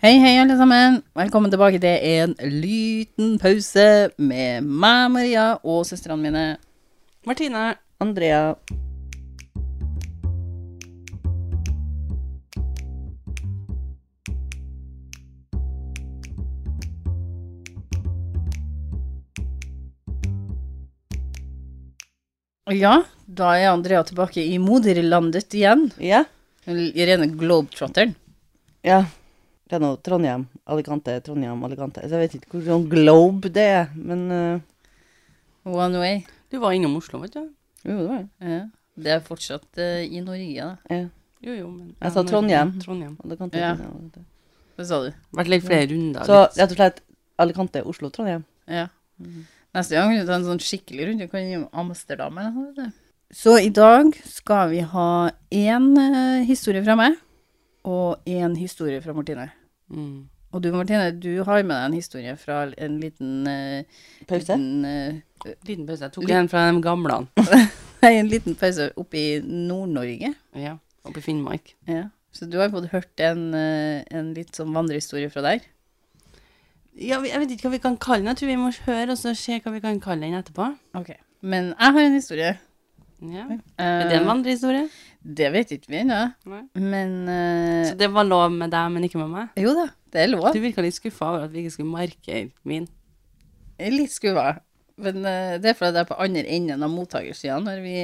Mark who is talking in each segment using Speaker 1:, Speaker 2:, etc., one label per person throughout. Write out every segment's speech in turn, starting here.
Speaker 1: Hei, hei, alle sammen. Velkommen tilbake til en liten pause med meg, Maria, og søstrene mine Martine, Andrea Ja, da er Andrea tilbake i moderlandet igjen.
Speaker 2: Ja.
Speaker 1: Irene Globetrotteren.
Speaker 2: ja. Det er nå Trondheim, Alicante, Trondheim, Alicante. Så jeg vet ikke hvor sånn globe det er, men eh,
Speaker 1: One way.
Speaker 3: Du var innom Oslo, vet du.
Speaker 2: Jo, det var det.
Speaker 1: Ja. Det er fortsatt eh, i Norge, da.
Speaker 2: Ja.
Speaker 3: Jo, jo, men
Speaker 2: Jeg sa
Speaker 3: men-
Speaker 2: Trondheim.
Speaker 3: Trondheim.
Speaker 2: Alicante,
Speaker 1: Ja.
Speaker 2: Trondheim. Alicante.
Speaker 1: Hva sa du?
Speaker 3: Vært litt flere runder.
Speaker 2: Så
Speaker 3: litt.
Speaker 2: rett og slett Alicante, Oslo, Trondheim.
Speaker 1: Ja. Neste gang kan du ta en sånn skikkelig runde. Du kan gjøre Amsterdam eller noe. vet du. Så i dag skal vi ha én eh, historie fra meg, og én historie fra Martine.
Speaker 3: Mm.
Speaker 1: Og du, Martine, du har med deg en historie fra en liten eh,
Speaker 2: Pause?
Speaker 1: Liten, eh,
Speaker 3: Liten pause. Jeg tok en fra de gamle.
Speaker 1: nei, en liten pause oppe i Nord-Norge.
Speaker 3: Ja. Oppe i Finnmark.
Speaker 1: Ja. Så du har fått hørt en, eh, en litt sånn vandrehistorie fra der.
Speaker 3: Ja, vi- jeg vet ikke hva vi kan kalle den. Jeg tror vi må høre og så se hva vi kan kalle den etterpå.
Speaker 1: Ok. Men jeg har en historie.
Speaker 3: Ja.
Speaker 1: Eh,
Speaker 3: Er det en vandrehistorie?
Speaker 1: det vet ikke vi ennå.
Speaker 3: Nei.
Speaker 1: Men eh,
Speaker 3: Så det var lov med deg, men ikke med meg?
Speaker 1: Jo da, det er lov.
Speaker 3: Du virka litt skuffa over at vi ikke skulle markere min.
Speaker 1: Jeg er litt skuffa. Men eh, det er fordi det er på andre enden av mottakersida når vi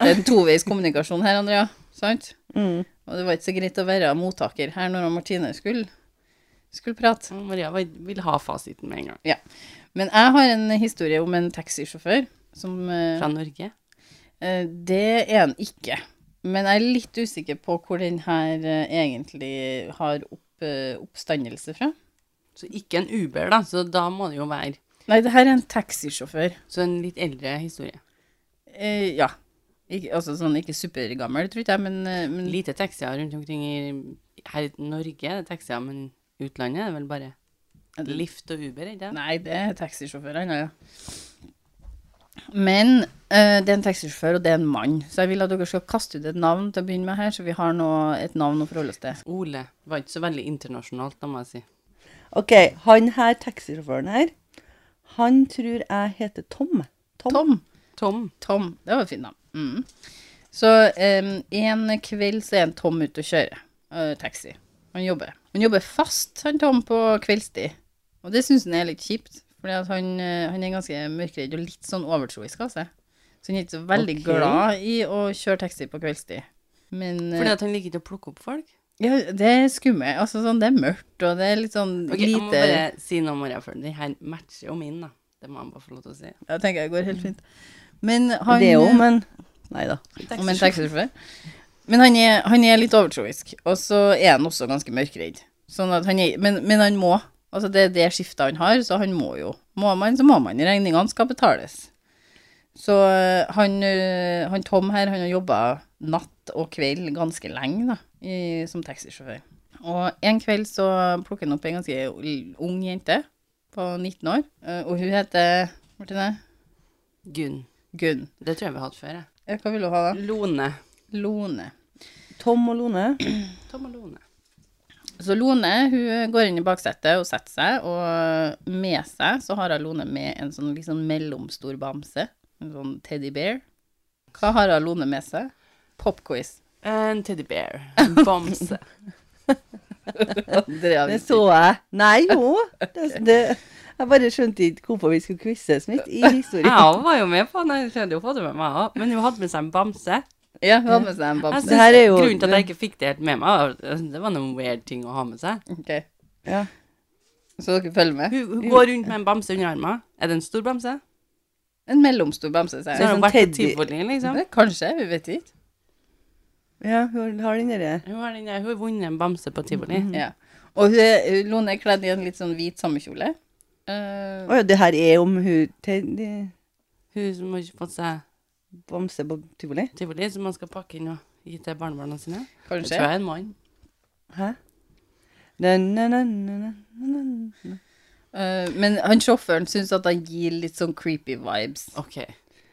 Speaker 1: Det er en toveis kommunikasjon her, Andrea. Sant?
Speaker 2: Mm.
Speaker 1: Og det var ikke så greit å være mottaker her når Martine skulle, skulle prate.
Speaker 3: Og Mm, Maria var- vil ha fasiten med en gang.
Speaker 1: Men jeg har en historie om en taxisjåfør som eh,
Speaker 3: Fra Norge.
Speaker 1: eh, Det er han ikke. Men jeg er litt usikker på hvor den her eh, egentlig har opp, eh, oppstandelse fra.
Speaker 3: Så ikke en Uber, da. Så da må det jo være
Speaker 1: Nei, det her er en taxisjåfør.
Speaker 3: Så en litt eldre historie.
Speaker 1: Eh, ja. Ikke, altså sånn ikke supergammel, tror ikke jeg, men, eh, men
Speaker 3: Lite taxier rundt omkring i Her i Norge er det taxier, men utlandet er det vel bare Lift og Uber, ikke det?
Speaker 1: Nei, det er taxisjåfører ennå, ja. Men eh, det er en taxisjåfør, og det er en mann. Så jeg vil at dere skal kaste ut et navn til å begynne med her, så vi har nå et navn å forholde oss til.
Speaker 3: Ole var ikke så veldig internasjonalt, da må jeg si.
Speaker 2: Ok, han her, taxisjåføren her, han tror jeg heter Tom. Tom?
Speaker 1: Tom.
Speaker 3: Tom.
Speaker 1: Tom. Det var et fint navn. Mm. Så eh, en kveld så er en Tom ute og kjører eh, taxi. Han jobber. Han jobber fast, han Tom, på kveldstid. Og det syns han er litt kjipt, fordi at han, eh, han er ganske mørkredd og litt sånn overtroisk av seg. Så han er ikke så veldig
Speaker 2: Ok.
Speaker 1: glad i å kjøre taxi på kveldstid. Men eh,
Speaker 3: Fordi at han liker ikke å plukke opp folk.
Speaker 1: ja, det er skummelt. Altså, sånn, det er mørkt, og det er litt sånn
Speaker 3: Ok, Jeg må
Speaker 1: lite
Speaker 3: bare si noe, Maria, for den her matcher jo min, da. Det må jeg bare få lov til å si.
Speaker 1: Jeg tenker det går helt fint. Men han eh,
Speaker 2: Det òg, men eh, Nei da.
Speaker 1: Om en taxisjåfør. Men han er, han er litt overtroisk, og så er han også ganske mørkredd. Sånn at han er, men, men han må. Altså det er det skiftet han har, så han må jo. Må man, så må man. Regningene skal betales. Så øh, han, øh, han Tom her, han har jobba natt og kveld ganske lenge da, i, som taxisjåfør. Og en kveld så plukker han opp en ganske ung jente på 19 år, øh, og hun heter Martine
Speaker 3: Gunn.
Speaker 1: Gunn.
Speaker 3: Det tror jeg vi har hatt før, jeg.
Speaker 1: Ja, Hva vil du ha da?
Speaker 3: Lone.
Speaker 1: Lone.
Speaker 2: Tom og Lone.
Speaker 3: Tom og Lone.
Speaker 1: Så Lone hun går inn i baksetet og setter seg, og med seg så har hun Lone med en sånn liksom mellomstor bamse, en sånn teddy bear. Hva har hun Lone med seg? Popquiz.
Speaker 3: En teddy bear. En bamse.
Speaker 2: Det så jeg. Nei, jo. Det, det, jeg bare skjønte ikke hvorfor vi skulle quizes mitt i
Speaker 3: Jeg
Speaker 2: historien.
Speaker 3: også var jo med på den, jeg hadde jo fått det med meg også. Men hun hadde med seg en bamse.
Speaker 1: Ja, altså- hun hadde med seg en
Speaker 3: Jeg
Speaker 1: bamse.
Speaker 2: Det her er jo-
Speaker 3: Grunnen til at jeg ikke fikk det helt med meg, var- det var noen weird ting å ha med seg.
Speaker 1: Ok,
Speaker 2: Ja.
Speaker 1: Så dere følger med?
Speaker 3: Hun, hun går rundt med en bamse under armen. Er det en stor bamse?
Speaker 1: En mellomstor bamse,
Speaker 3: Så
Speaker 1: sier jeg.
Speaker 3: har hun
Speaker 2: sånn
Speaker 3: vært på
Speaker 2: teddy-
Speaker 3: tivoli, liksom.
Speaker 1: Det- Kanskje, vi vet ikke.
Speaker 2: Ja, hun har den derre
Speaker 3: Hun har, den der, hun har vunnet en bamse på tivoli.
Speaker 1: Ja. Og hun, er- hun- Lone er kledd i en litt sånn hvit sommerkjole. Eh,
Speaker 2: Å ja, det her er om hun Teddy
Speaker 3: Hun som har ikke fått seg
Speaker 2: Bamse på tivoli?
Speaker 3: tivoli, som man skal pakke inn og gi til barnebarna sine. Jeg tror
Speaker 1: kanskje.
Speaker 3: jeg er en mann.
Speaker 2: Hæ? Na, na, na, na, na, na, na.
Speaker 1: Eh, men han sjåføren syns at han gir litt sånn creepy vibes.
Speaker 3: OK.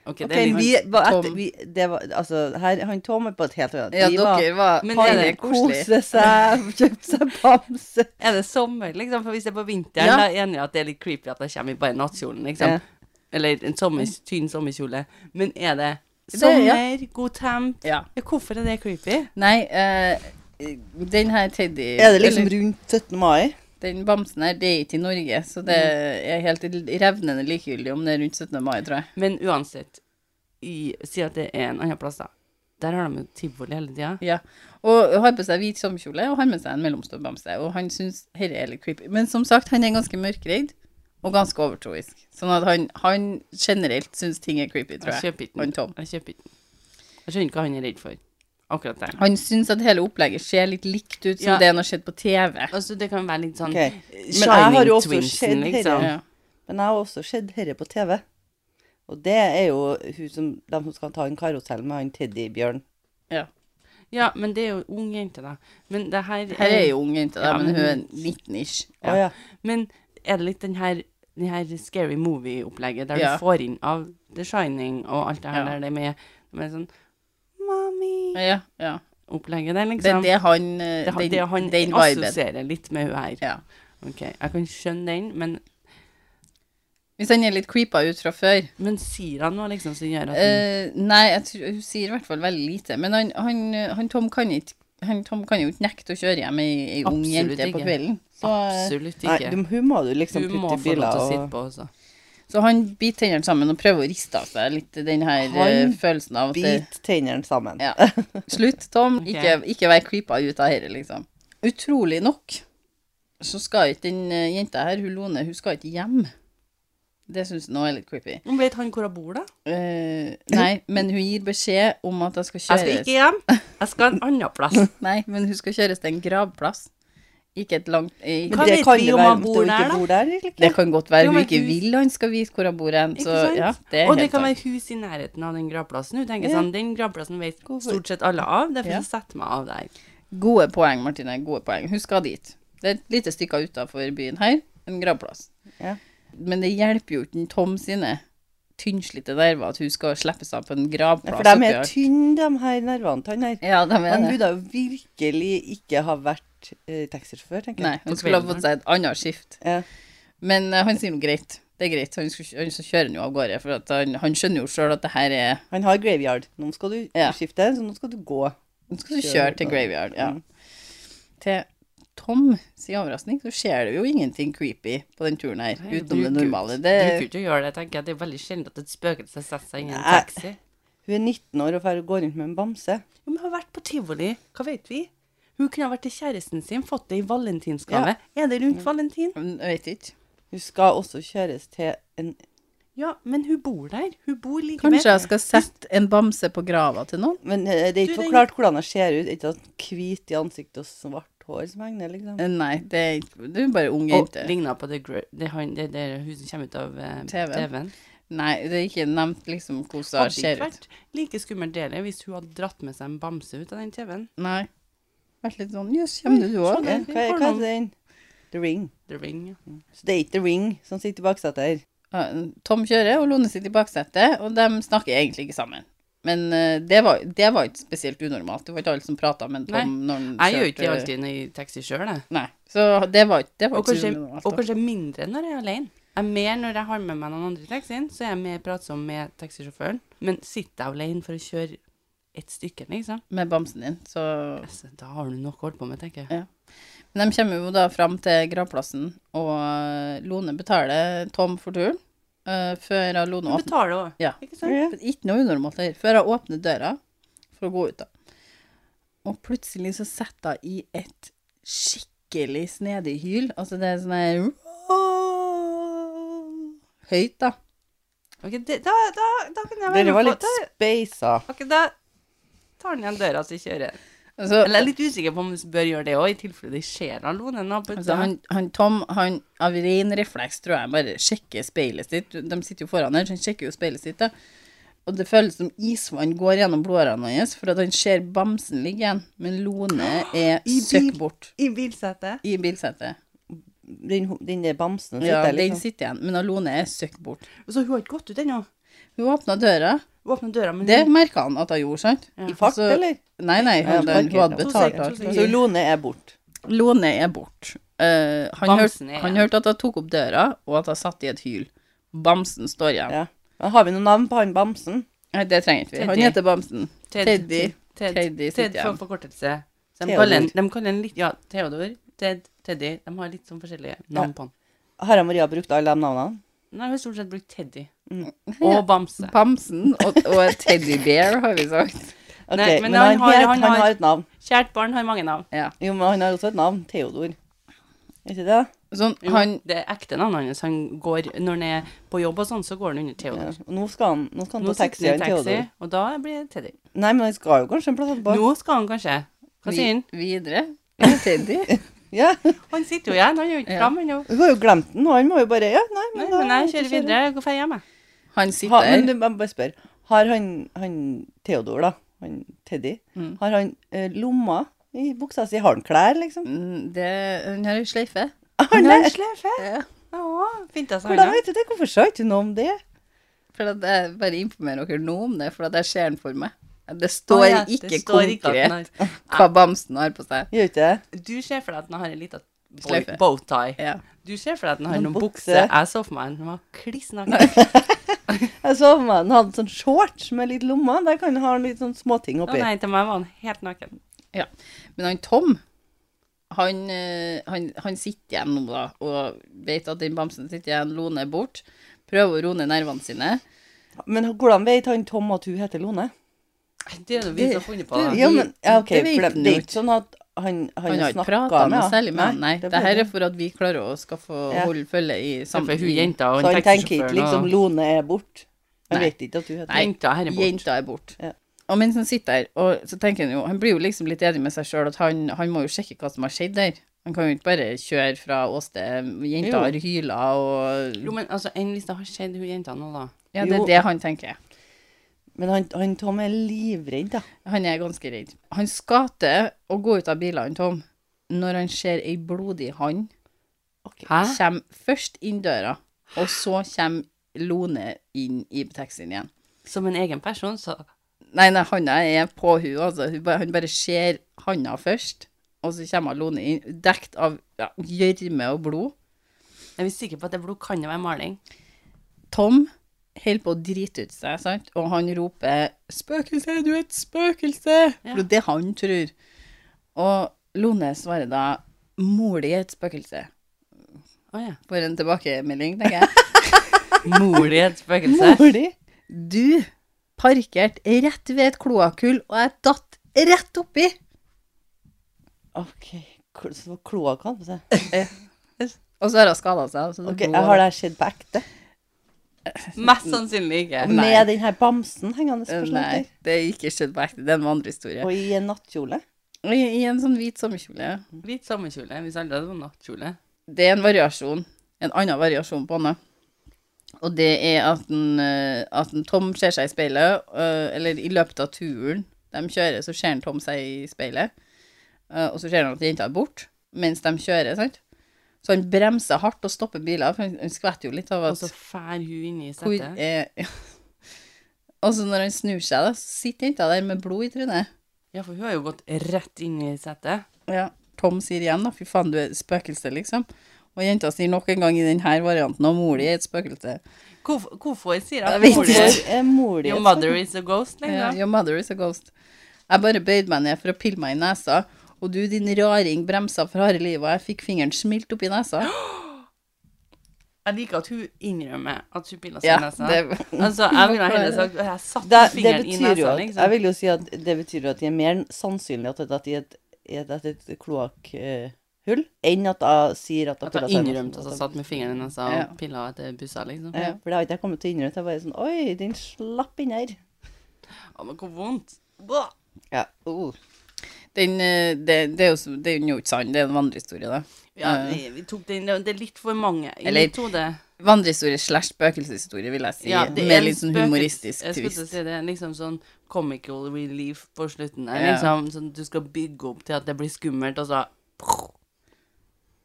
Speaker 3: Ok,
Speaker 2: Ok,
Speaker 3: det er litt... sånn
Speaker 2: vi var etter,
Speaker 1: Tom.
Speaker 2: vi, det var, altså, her, han Tom er på et helt annet.
Speaker 1: Ja,
Speaker 2: Vi var-
Speaker 1: dere var
Speaker 3: Men
Speaker 1: Har
Speaker 3: er
Speaker 1: det
Speaker 3: det
Speaker 1: koselig.
Speaker 2: Kose seg, kjøpte seg bamse.
Speaker 3: Er det sommer, liksom? For hvis det er på vinteren,
Speaker 1: Ja.
Speaker 3: da er jeg enig i at det er litt creepy at jeg kommer i bare nattkjolen, liksom.
Speaker 2: Ja.
Speaker 3: Eller en sommer, tynn sommerkjole. Men er det
Speaker 1: Det-
Speaker 3: sommer,
Speaker 1: ja.
Speaker 3: god temp
Speaker 1: Ja.
Speaker 3: ja, Hvorfor er det creepy?
Speaker 1: Nei, eh, den her teddy...
Speaker 2: Er det liksom
Speaker 1: eller
Speaker 2: rundt 17. mai?
Speaker 1: Den bamsen her, det er ikke i Norge, så det er helt revnende likegyldig om det er rundt 17. mai, tror jeg.
Speaker 3: Men uansett, i, si at det er en annen plass, da. Der har de jo tivoli hele tida.
Speaker 1: Ja. Og har på seg hvit sommerkjole og har med seg en mellomstor bamse. Og han syns dette er litt creepy. Men som sagt, han er ganske mørkredd og ganske overtroisk. Sånn at han, han generelt syns ting er creepy, tror
Speaker 3: Jeg
Speaker 1: jeg.
Speaker 3: kjøper ikke
Speaker 1: Han
Speaker 3: den.
Speaker 1: Tom.
Speaker 3: Jeg kjøper ikke den. Jeg skjønner ikke hva han er redd for. Akkurat der.
Speaker 1: Han syns at hele opplegget ser litt likt ut som
Speaker 3: Ja.
Speaker 1: det han har sett på TV.
Speaker 3: Altså, det kan være litt sånn
Speaker 2: Ok. Men jeg har
Speaker 3: Shining
Speaker 2: jo også sett
Speaker 3: Twinsen,
Speaker 2: dette.
Speaker 3: liksom.
Speaker 1: Ja.
Speaker 2: Men jeg har også sett herre på TV. Og det er jo hun som, de som skal ta en karusell med han teddybjørn.
Speaker 1: Ja.
Speaker 3: Ja, men det er jo ung jente, da. Men det her
Speaker 1: Her er jo ung jente, da,
Speaker 3: Ja,
Speaker 1: men
Speaker 3: men-
Speaker 1: hun er 19 ish.
Speaker 2: Å ja.
Speaker 3: Men er det litt den her, den her scary movie-opplegget der
Speaker 1: Ja.
Speaker 3: du får inn av The Shining og alt det her
Speaker 1: Ja.
Speaker 3: der det er med, med sånn Mommy-opplegget
Speaker 1: Ja, ja.
Speaker 3: der,
Speaker 1: Det er
Speaker 3: liksom?
Speaker 1: det han eh,
Speaker 3: det, har-
Speaker 1: Den,
Speaker 3: det han
Speaker 1: den viben.
Speaker 3: assosierer litt med hun her.
Speaker 1: Ja.
Speaker 3: Ok, Jeg kan skjønne den, men,
Speaker 1: Hvis han er litt creepa ut fra før,
Speaker 3: men sier han noe liksom som gjør at den-
Speaker 1: Eh, nei, jeg tror, hun sier i hvert fall veldig lite. Men han, han, han, Tom, kan ikke, han Tom kan jo ikke nekte å kjøre hjem ei ei ung
Speaker 3: Absolutt
Speaker 1: jente på
Speaker 3: ikke.
Speaker 1: kvelden. Så, eh,
Speaker 3: Absolutt
Speaker 2: Nei,
Speaker 3: ikke.
Speaker 2: du, hun må du liksom
Speaker 3: hun må
Speaker 2: putte i
Speaker 3: få lov
Speaker 2: biler
Speaker 3: til å
Speaker 2: og
Speaker 3: sitte på også.
Speaker 1: så han biter tennene sammen og prøver å riste av seg litt den her eh,
Speaker 2: Han
Speaker 1: følelsen av at det,
Speaker 2: bite tennene sammen.
Speaker 1: ja. Slutt, Tom.
Speaker 3: Ok.
Speaker 1: Ikke, ikke vær creepa ut av dette, liksom. Utrolig nok så skal ikke den eh, jenta her, hun Lone, hun skal ikke hjem. Det syns jeg nå er litt creepy.
Speaker 3: Men Vet han hvor hun bor, da?
Speaker 1: Eh, nei, men hun gir beskjed om at hun skal
Speaker 3: Jeg
Speaker 1: kjøres
Speaker 3: skal ikke hjem. Jeg skal en annen plass.
Speaker 1: Nei, men hun skal kjøres til en gravplass. Ikke et langt eh,
Speaker 2: Men
Speaker 3: Hva
Speaker 2: det
Speaker 3: vet
Speaker 2: kan
Speaker 3: vi
Speaker 2: jo
Speaker 3: om
Speaker 2: være
Speaker 3: han
Speaker 2: at hun
Speaker 3: bor
Speaker 2: ikke
Speaker 3: der, da?
Speaker 2: bor der, egentlig.
Speaker 1: Det kan godt være
Speaker 3: Jo,
Speaker 1: hun
Speaker 3: men
Speaker 1: ikke
Speaker 3: hun-
Speaker 1: vil han skal vite hvor hun bor hen.
Speaker 3: Ikke
Speaker 1: Så
Speaker 3: sant?
Speaker 1: ja, det er
Speaker 3: Og det
Speaker 1: helt
Speaker 3: kan
Speaker 1: sant.
Speaker 3: være hus i nærheten av den gravplassen. Hun tenker
Speaker 2: Ja.
Speaker 3: sånn, Den gravplassen vet
Speaker 2: Hvorfor?
Speaker 3: stort sett alle av. Derfor
Speaker 1: Ja.
Speaker 3: så setter jeg meg av der.
Speaker 1: Gode poeng, Martine. Gode poeng. Hun skal dit. Det er et lite stykke utafor byen her. En gravplass.
Speaker 2: Ja.
Speaker 1: Men det hjelper jo ikke den Tom sine tynnslitte nerver at hun skal slippes av på en
Speaker 2: Ja,
Speaker 1: gravplass.
Speaker 2: for de er
Speaker 1: oppi her.
Speaker 2: tynne, de her nervene til han her.
Speaker 1: Ja, de er
Speaker 2: Han
Speaker 1: det.
Speaker 2: burde jo virkelig ikke ha vært eh, taxisjåfør, tenker
Speaker 1: Nei,
Speaker 2: jeg.
Speaker 1: hun
Speaker 3: På
Speaker 1: skulle ha
Speaker 3: kvelden,
Speaker 1: fått seg et annet skift.
Speaker 2: Ja.
Speaker 1: Men eh, han sier jo greit. Det er greit. Han, skal, han så kjører han jo av gårde, for at han, han skjønner jo sjøl at det her er
Speaker 2: Han har graveyard. Nå skal du
Speaker 1: Ja.
Speaker 2: skifte, så nå skal du gå.
Speaker 1: Nå skal du kjøre til graveyard, ja.
Speaker 3: Mm.
Speaker 1: Til Tom sin overraskning, så skjer det jo ingenting creepy på den turen her,
Speaker 3: Nei,
Speaker 1: utenom det
Speaker 3: bruker-
Speaker 1: normale.
Speaker 3: Du
Speaker 1: Det,
Speaker 3: bruker ikke å gjøre det. tenker jeg. Det er veldig sjelden at et spøkelse setter seg inn i en
Speaker 2: Nei.
Speaker 3: taxi.
Speaker 2: Hun er 19 år og fer- går rundt med en bamse.
Speaker 3: Jo, men hun har vært på tivoli. Hva vet vi? Hun kunne ha vært til kjæresten sin, fått det i valentinsgave. Er det rundt valentin?
Speaker 1: Mm, jeg vet ikke.
Speaker 2: Hun skal også kjøres til en
Speaker 3: Ja, men hun bor der. Hun bor like ved.
Speaker 1: Kanskje jeg skal sette en bamse på grava til noen?
Speaker 2: Men eh, det er
Speaker 3: Du,
Speaker 2: ikke
Speaker 3: den-
Speaker 2: forklart hvordan hun ser ut. Ikke sånn hvit i ansiktet og svart hår som henger, liksom.
Speaker 1: Eh, Nei, det er, ikke- det er jo bare ung
Speaker 3: Og
Speaker 1: jente.
Speaker 3: ligna på det, gr- det, han- det, det hun som kommer ut av eh,
Speaker 1: TV.
Speaker 3: TV-en.
Speaker 1: Nei, det er ikke nevnt liksom hvordan hun
Speaker 3: Hadde ikke
Speaker 1: ser ut.
Speaker 3: vært like skummelt dele hvis hun hadde dratt med seg en bamse ut av den TV-en.
Speaker 1: Nei. Vært litt sånn, jøss, kommer du òg?
Speaker 2: Ja,
Speaker 3: den-
Speaker 2: hva, er-
Speaker 3: har
Speaker 2: hva er
Speaker 3: noen-
Speaker 2: den? The Ring.
Speaker 3: The Ring. ja.
Speaker 2: Så det er ikke The Ring som sitter i baksetet her.
Speaker 1: Tom kjører, og Lone sitter i baksetet, og de snakker egentlig ikke sammen. Men eh, det var, det var ikke spesielt unormalt. Det var ikke alle som prata med Tom
Speaker 3: Nei,
Speaker 1: når han
Speaker 3: Jeg gjør ikke det
Speaker 1: kjørte-
Speaker 3: alltid i taxi sjøl, jeg.
Speaker 1: Nei. Så det var ikke det var
Speaker 3: Og
Speaker 1: ikke så
Speaker 3: kanskje,
Speaker 1: unormalt,
Speaker 3: og
Speaker 1: da.
Speaker 3: kanskje mindre når jeg er alene. Jeg er mer når jeg har med meg noen andre i taxien, så er jeg mer pratsom med taxisjåføren. Men sitter jeg alene for å kjøre et stykke, liksom,
Speaker 1: Med bamsen din, så
Speaker 3: altså, da har du nok å holde på med, tenker jeg.
Speaker 1: Men de kommer jo da fram til gravplassen, og eh, Lone betaler Tom for turen. eh, før hun Lone
Speaker 3: Du
Speaker 1: åpner
Speaker 3: betaler òg,
Speaker 1: Ja.
Speaker 3: ikke sant?
Speaker 1: Ikke noe unormalt her. Før hun åpner døra for å gå ut, da. Og plutselig så setter hun i et skikkelig snedig hyl. Altså det er sånn her Høyt, da.
Speaker 3: Ok, det, da, da, da kan jeg være
Speaker 2: Dere var
Speaker 3: med
Speaker 2: litt
Speaker 3: på da,
Speaker 2: speisa.
Speaker 3: Ok, da tar han igjen døra så kjører. jeg.
Speaker 1: Altså,
Speaker 3: Eller jeg er litt usikker på om du bør gjøre det òg, i tilfelle det skjer alene. nå på
Speaker 1: Altså,
Speaker 3: utsida.
Speaker 1: han, han Tom, han av ren refleks, tror jeg, bare sjekker speilet sitt. De sitter jo foran her, så han sjekker jo speilet sitt, da. Og det føles som isvann går gjennom blodårene hans, for at han ser bamsen ligge igjen. Men Lone er
Speaker 3: bil-
Speaker 1: søkk bort
Speaker 3: I bilsetet.
Speaker 1: i bilsetet.
Speaker 2: Den, ho- den der bamsen
Speaker 1: Ja,
Speaker 2: sitter der,
Speaker 1: den
Speaker 2: liksom.
Speaker 1: sitter igjen, men Lone er søkk bort.
Speaker 3: Så hun har ikke gått ut ennå.
Speaker 1: Hun åpna døra.
Speaker 3: Hun åpnet døra, men
Speaker 1: Det
Speaker 3: hun,
Speaker 1: merka han at hun gjorde, sant?
Speaker 3: Mm. Ja.
Speaker 2: I fart,
Speaker 1: Altså,
Speaker 2: eller?
Speaker 1: Nei, nei,
Speaker 2: Ja,
Speaker 1: han, han, hun hadde
Speaker 2: parkert,
Speaker 3: ja.
Speaker 1: betalt
Speaker 3: To
Speaker 1: alt.
Speaker 3: sek- to
Speaker 2: Så Lone er bort.
Speaker 1: Lone er borte. han,
Speaker 3: Bamsen
Speaker 1: hørte-
Speaker 3: er
Speaker 1: han
Speaker 3: igjen.
Speaker 1: hørte at hun tok opp døra, og at hun satt i et hyl. Bamsen står igjen.
Speaker 2: Ja. Men har vi noe navn på han bamsen?
Speaker 1: Nei, det trenger ikke vi. Han
Speaker 3: Teddy.
Speaker 1: heter Bamsen.
Speaker 3: Ted,
Speaker 1: Teddy.
Speaker 3: Ted,
Speaker 1: Teddy
Speaker 3: Ted,
Speaker 1: sitter
Speaker 3: for
Speaker 1: igjen.
Speaker 3: forkortelse. Så de
Speaker 2: Theodor.
Speaker 3: kaller, en- de kaller en litt Ja, Theodor, Ted, Teddy. De har litt sånn forskjellige navn på han.
Speaker 2: Har jeg Maria brukt alle de navnene?
Speaker 3: Nei, vi har stort sett brukt Teddy.
Speaker 2: Mm.
Speaker 3: Og Bamse.
Speaker 1: Bamsen og, og et teddybear, har vi sagt.
Speaker 2: Ok,
Speaker 3: Nei,
Speaker 2: men, han, har,
Speaker 3: han
Speaker 2: han
Speaker 3: har-
Speaker 2: har et navn.
Speaker 3: Kjært barn har mange navn.
Speaker 1: Ja.
Speaker 2: Jo, men han har også et navn. Theodor. Er ikke det?
Speaker 1: Sånn,
Speaker 3: Jo,
Speaker 1: han,
Speaker 3: Det er ekte navnet hans. Han går, når han er på jobb og sånn, så går han under
Speaker 2: Ja.
Speaker 3: Theodor.
Speaker 2: Og Nå skal han, nå skal han
Speaker 3: Nå
Speaker 2: på
Speaker 3: sitter
Speaker 2: taxi,
Speaker 3: han i
Speaker 2: han
Speaker 3: taxi,
Speaker 2: Theodor.
Speaker 3: og da blir det Teddy.
Speaker 2: Nei, men han skal jo kanskje en plass etterpå.
Speaker 3: Nå skal han kanskje Hva sier han?
Speaker 1: vi, videre er Teddy.
Speaker 2: Ja, Hun
Speaker 3: Han sitter jo igjen, han er jo ikke
Speaker 1: Ja.
Speaker 3: fram ennå.
Speaker 2: har jo glemt den, og han må jo bare Ja, nei,
Speaker 3: Nei,
Speaker 2: men da
Speaker 3: Men jeg kjører videre, jeg går ferdig hjem, jeg.
Speaker 1: Han
Speaker 2: Ha,
Speaker 1: sitter
Speaker 2: men du,
Speaker 1: der.
Speaker 2: jeg må bare spør. Har han, han Theodor, da, han Teddy,
Speaker 1: Mm.
Speaker 2: har han eh, lomma i buksa si? Har han klær, liksom?
Speaker 1: Mm, Det, han har ei sleife.
Speaker 2: Har han det?
Speaker 3: slefe. Å, fint altså.
Speaker 2: Hvordan vet du det? Hvorfor sa ikke du noe om det?
Speaker 1: For at jeg bare informerer dere nå om det, for at jeg ser den for meg. Det står ikke konkret hva Bamsen har på seg.
Speaker 2: Gjør ikke det?
Speaker 3: Du ser for deg at den har en liten
Speaker 1: Sløyfe.
Speaker 3: bow- bowtie.
Speaker 1: Ja.
Speaker 3: Du ser for deg at den har
Speaker 2: Noen
Speaker 3: noen
Speaker 2: bukser.
Speaker 3: bukser. Jeg så for meg den var kliss naken.
Speaker 2: Jeg så for meg han hadde sånn shorts med litt lommer. Der kan han ha litt sånn småting
Speaker 3: Å
Speaker 2: oppi.
Speaker 3: nei, til meg var den helt naken.
Speaker 1: Ja. Men han Tom, han, eh, han, han sitter igjen nå, da, og vet at den bamsen sitter igjen, Lone er borte. Prøver å roe ned nervene sine.
Speaker 2: Men hvordan vet han Tom at hun heter Lone?
Speaker 3: Det er jo vi
Speaker 1: Det-
Speaker 3: som har funnet på det.
Speaker 1: det-
Speaker 2: Ja, men ja, ok,
Speaker 1: det vet
Speaker 2: for det,
Speaker 1: han
Speaker 2: det
Speaker 1: jo
Speaker 2: er ikke sånn at han, han,
Speaker 1: Han har ikke
Speaker 2: snakket
Speaker 1: prata noe
Speaker 2: henne.
Speaker 1: særlig med han, nei. Det
Speaker 2: blir
Speaker 1: her
Speaker 2: det.
Speaker 1: er for at vi klarer å skal få
Speaker 2: Ja.
Speaker 1: holde følge i
Speaker 3: Sammen
Speaker 1: sammen.
Speaker 3: med hun jenta og
Speaker 2: Så han
Speaker 3: en
Speaker 2: tenker ikke liksom
Speaker 3: taxisjåfør.
Speaker 2: Lone er borte. Han
Speaker 1: Nei.
Speaker 2: vet ikke at hun heter
Speaker 1: Nei.
Speaker 3: Jenta her er borte.
Speaker 1: Jenta er borte.
Speaker 2: Ja.
Speaker 1: Og mens han sitter der, og så tenker han jo Han blir jo liksom litt enig med seg sjøl at han, han må jo sjekke hva som har skjedd der. Han kan jo ikke bare kjøre fra åsted.
Speaker 2: Jo.
Speaker 1: Jenta har hyla og
Speaker 3: Jo, men altså, enn hvis det har skjedd hun jenta nå, da.
Speaker 1: Ja, det
Speaker 2: Jo.
Speaker 1: er det han tenker.
Speaker 2: Men han, han Tom er livredd, da.
Speaker 1: Han er ganske redd. Han skal til å gå ut av bilene, Tom, når han ser ei blodig hand
Speaker 3: Hæ?
Speaker 1: kommer først inn døra, og så kommer Lone inn i taxien igjen.
Speaker 3: Som en egen person, så
Speaker 1: Nei, nei, handa er på hun, altså. Hun, ba- han bare ser handa først, og så kommer Lone inn, dekt av ja, gjørme og blod.
Speaker 3: Jeg er vi sikre på at det blod kan jo være maling.
Speaker 1: Tom holder på å drite ut seg, sant? og han roper 'Spøkelse, du er et spøkelse!'
Speaker 3: Ja.
Speaker 1: For det er det han tror. Og Lone svarer da 'Mor di er et spøkelse'.
Speaker 3: Å ja.
Speaker 1: For en tilbakemelding, tenker jeg.
Speaker 3: Mor di er et spøkelse.
Speaker 2: Mor di!
Speaker 1: Du parkerte rett ved et kloakkhull, og jeg datt rett oppi.
Speaker 2: OK. kl- Så kloakk han på seg.
Speaker 1: Og så har hun skada seg. altså. Så det
Speaker 2: Ok,
Speaker 1: blod-
Speaker 2: jeg Har det her skjedd på ekte?
Speaker 3: Mest sannsynlig ikke.
Speaker 1: Nei.
Speaker 2: Med den her bamsen hengende på
Speaker 1: Nei,
Speaker 2: slanker?
Speaker 1: det er ikke skjedd på ekte. Det er en vandrehistorie.
Speaker 2: Og i en nattkjole?
Speaker 1: I, I en sånn hvit sommerkjole.
Speaker 3: Hvit sommerkjole hvis alle hadde vært nattkjole.
Speaker 1: Det er en variasjon. En annen variasjon på henne. Og det er at, en, eh, at en Tom ser seg i speilet, eh, eller i løpet av turen de kjører, så ser en Tom seg i speilet, eh, og så ser han at jenta er borte mens de kjører, sant? Så han bremser hardt og stopper biler, for han- han skvetter jo litt av at
Speaker 3: Og så fær hun inn i
Speaker 1: Hvor
Speaker 3: setet.
Speaker 1: er Og så når han snur seg, da, så sitter jenta der med blod i trynet.
Speaker 3: Ja, for hun har jo gått rett inn i setet.
Speaker 1: Ja. Tom sier igjen, da, fy faen, du er et spøkelse, liksom. Og jenta sier nok en gang i denne varianten at mor di er et spøkelse.
Speaker 3: Hvorfor, hvorfor sier
Speaker 1: Jeg
Speaker 3: jeg
Speaker 1: vet
Speaker 3: mor di
Speaker 2: Hvor er mor di?
Speaker 3: Your mother is a ghost,
Speaker 1: Eh,
Speaker 3: liksom?
Speaker 1: Your mother is a ghost. Jeg bare bøyde meg ned for å pille meg i nesa, og du, din raring, bremsa for harde livet, og jeg fikk fingeren smilt opp i nesa.
Speaker 3: Sånn Jeg liker at hun innrømmer at hun piller seg
Speaker 1: Ja,
Speaker 3: i nesa.
Speaker 1: det,
Speaker 3: Altså, jeg ville heller sagt jeg satte
Speaker 2: Det, det
Speaker 3: fingeren i
Speaker 2: betyr jo
Speaker 3: nesa,
Speaker 2: at Jeg
Speaker 3: liksom.
Speaker 2: vil jo si at det betyr jo at det er mer sannsynlig at det er i et, i et, at et kloakkhull enn at jeg sier at
Speaker 3: At
Speaker 2: jeg
Speaker 3: hun
Speaker 2: piller seg i nesen.
Speaker 3: innrømte at hun satt med fingeren i nesa
Speaker 1: Ja.
Speaker 3: og pilla etter bussa, liksom.
Speaker 2: Ja, for det har ikke jeg kommet til å innrømme. Jeg er bare sånn Oi, den slapp inn her.
Speaker 3: Å, men hvor vondt. Bå.
Speaker 2: Ja. Oh.
Speaker 1: den, eh, det, det er jo så- det er jo ikke sant, det er en vandrehistorie, da. Eh,
Speaker 3: Ja,
Speaker 1: Ja.
Speaker 3: vi, vi tok den Det er litt for mange i
Speaker 1: Eller-
Speaker 3: mitt hode.
Speaker 1: Vandrehistorie slash spøkelseshistorie, vil jeg si,
Speaker 3: Ja, det er
Speaker 1: med
Speaker 3: en
Speaker 1: litt sånn
Speaker 3: spøkels-
Speaker 1: humoristisk
Speaker 3: Jeg skulle til å
Speaker 1: twist.
Speaker 3: si det er liksom sånn comical relief på slutten der.
Speaker 1: Ja.
Speaker 3: Liksom, sånn, du skal bygge opp til at det blir skummelt, og så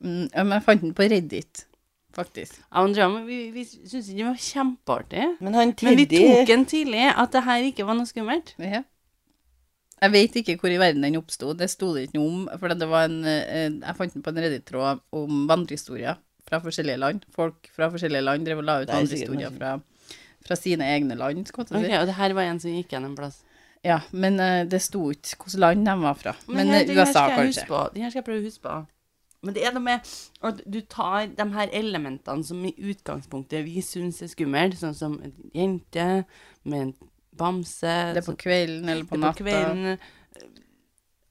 Speaker 1: Mm, ja, men jeg fant den på Reddit. faktisk.
Speaker 3: Jeg og Andrea, men vi, vi syntes ikke det var kjempeartig.
Speaker 2: Men han
Speaker 3: Men vi tok
Speaker 2: Teddy
Speaker 3: den tidlig, at det her ikke var noe skummelt.
Speaker 1: Ja. Jeg vet ikke hvor i verden den oppsto, det sto det ikke noe om. For det var en, eh, jeg fant den på en reddit-tråd om vandrehistorier fra forskjellige land. Folk fra forskjellige land drev og la ut
Speaker 2: Det er sikkert
Speaker 1: vandrehistorier fra, fra sine egne land. Skal jeg
Speaker 3: Ok,
Speaker 1: til å si.
Speaker 3: Og det her var en som gikk gjennom en plass.
Speaker 1: Ja, men eh, det sto ikke hvilket land de var fra. Men,
Speaker 3: her-
Speaker 1: eh,
Speaker 3: det her
Speaker 1: USA,
Speaker 3: skal jeg huske
Speaker 1: kanskje.
Speaker 3: på. Det her skal jeg prøve å huske på. Men det er noe med at du tar de her elementene som i utgangspunktet vi syns er skumle, sånn som en jente med en bamse
Speaker 1: Det er på
Speaker 3: sånn-
Speaker 1: kvelden eller på
Speaker 3: det er
Speaker 1: natta.
Speaker 3: kvelden. eh,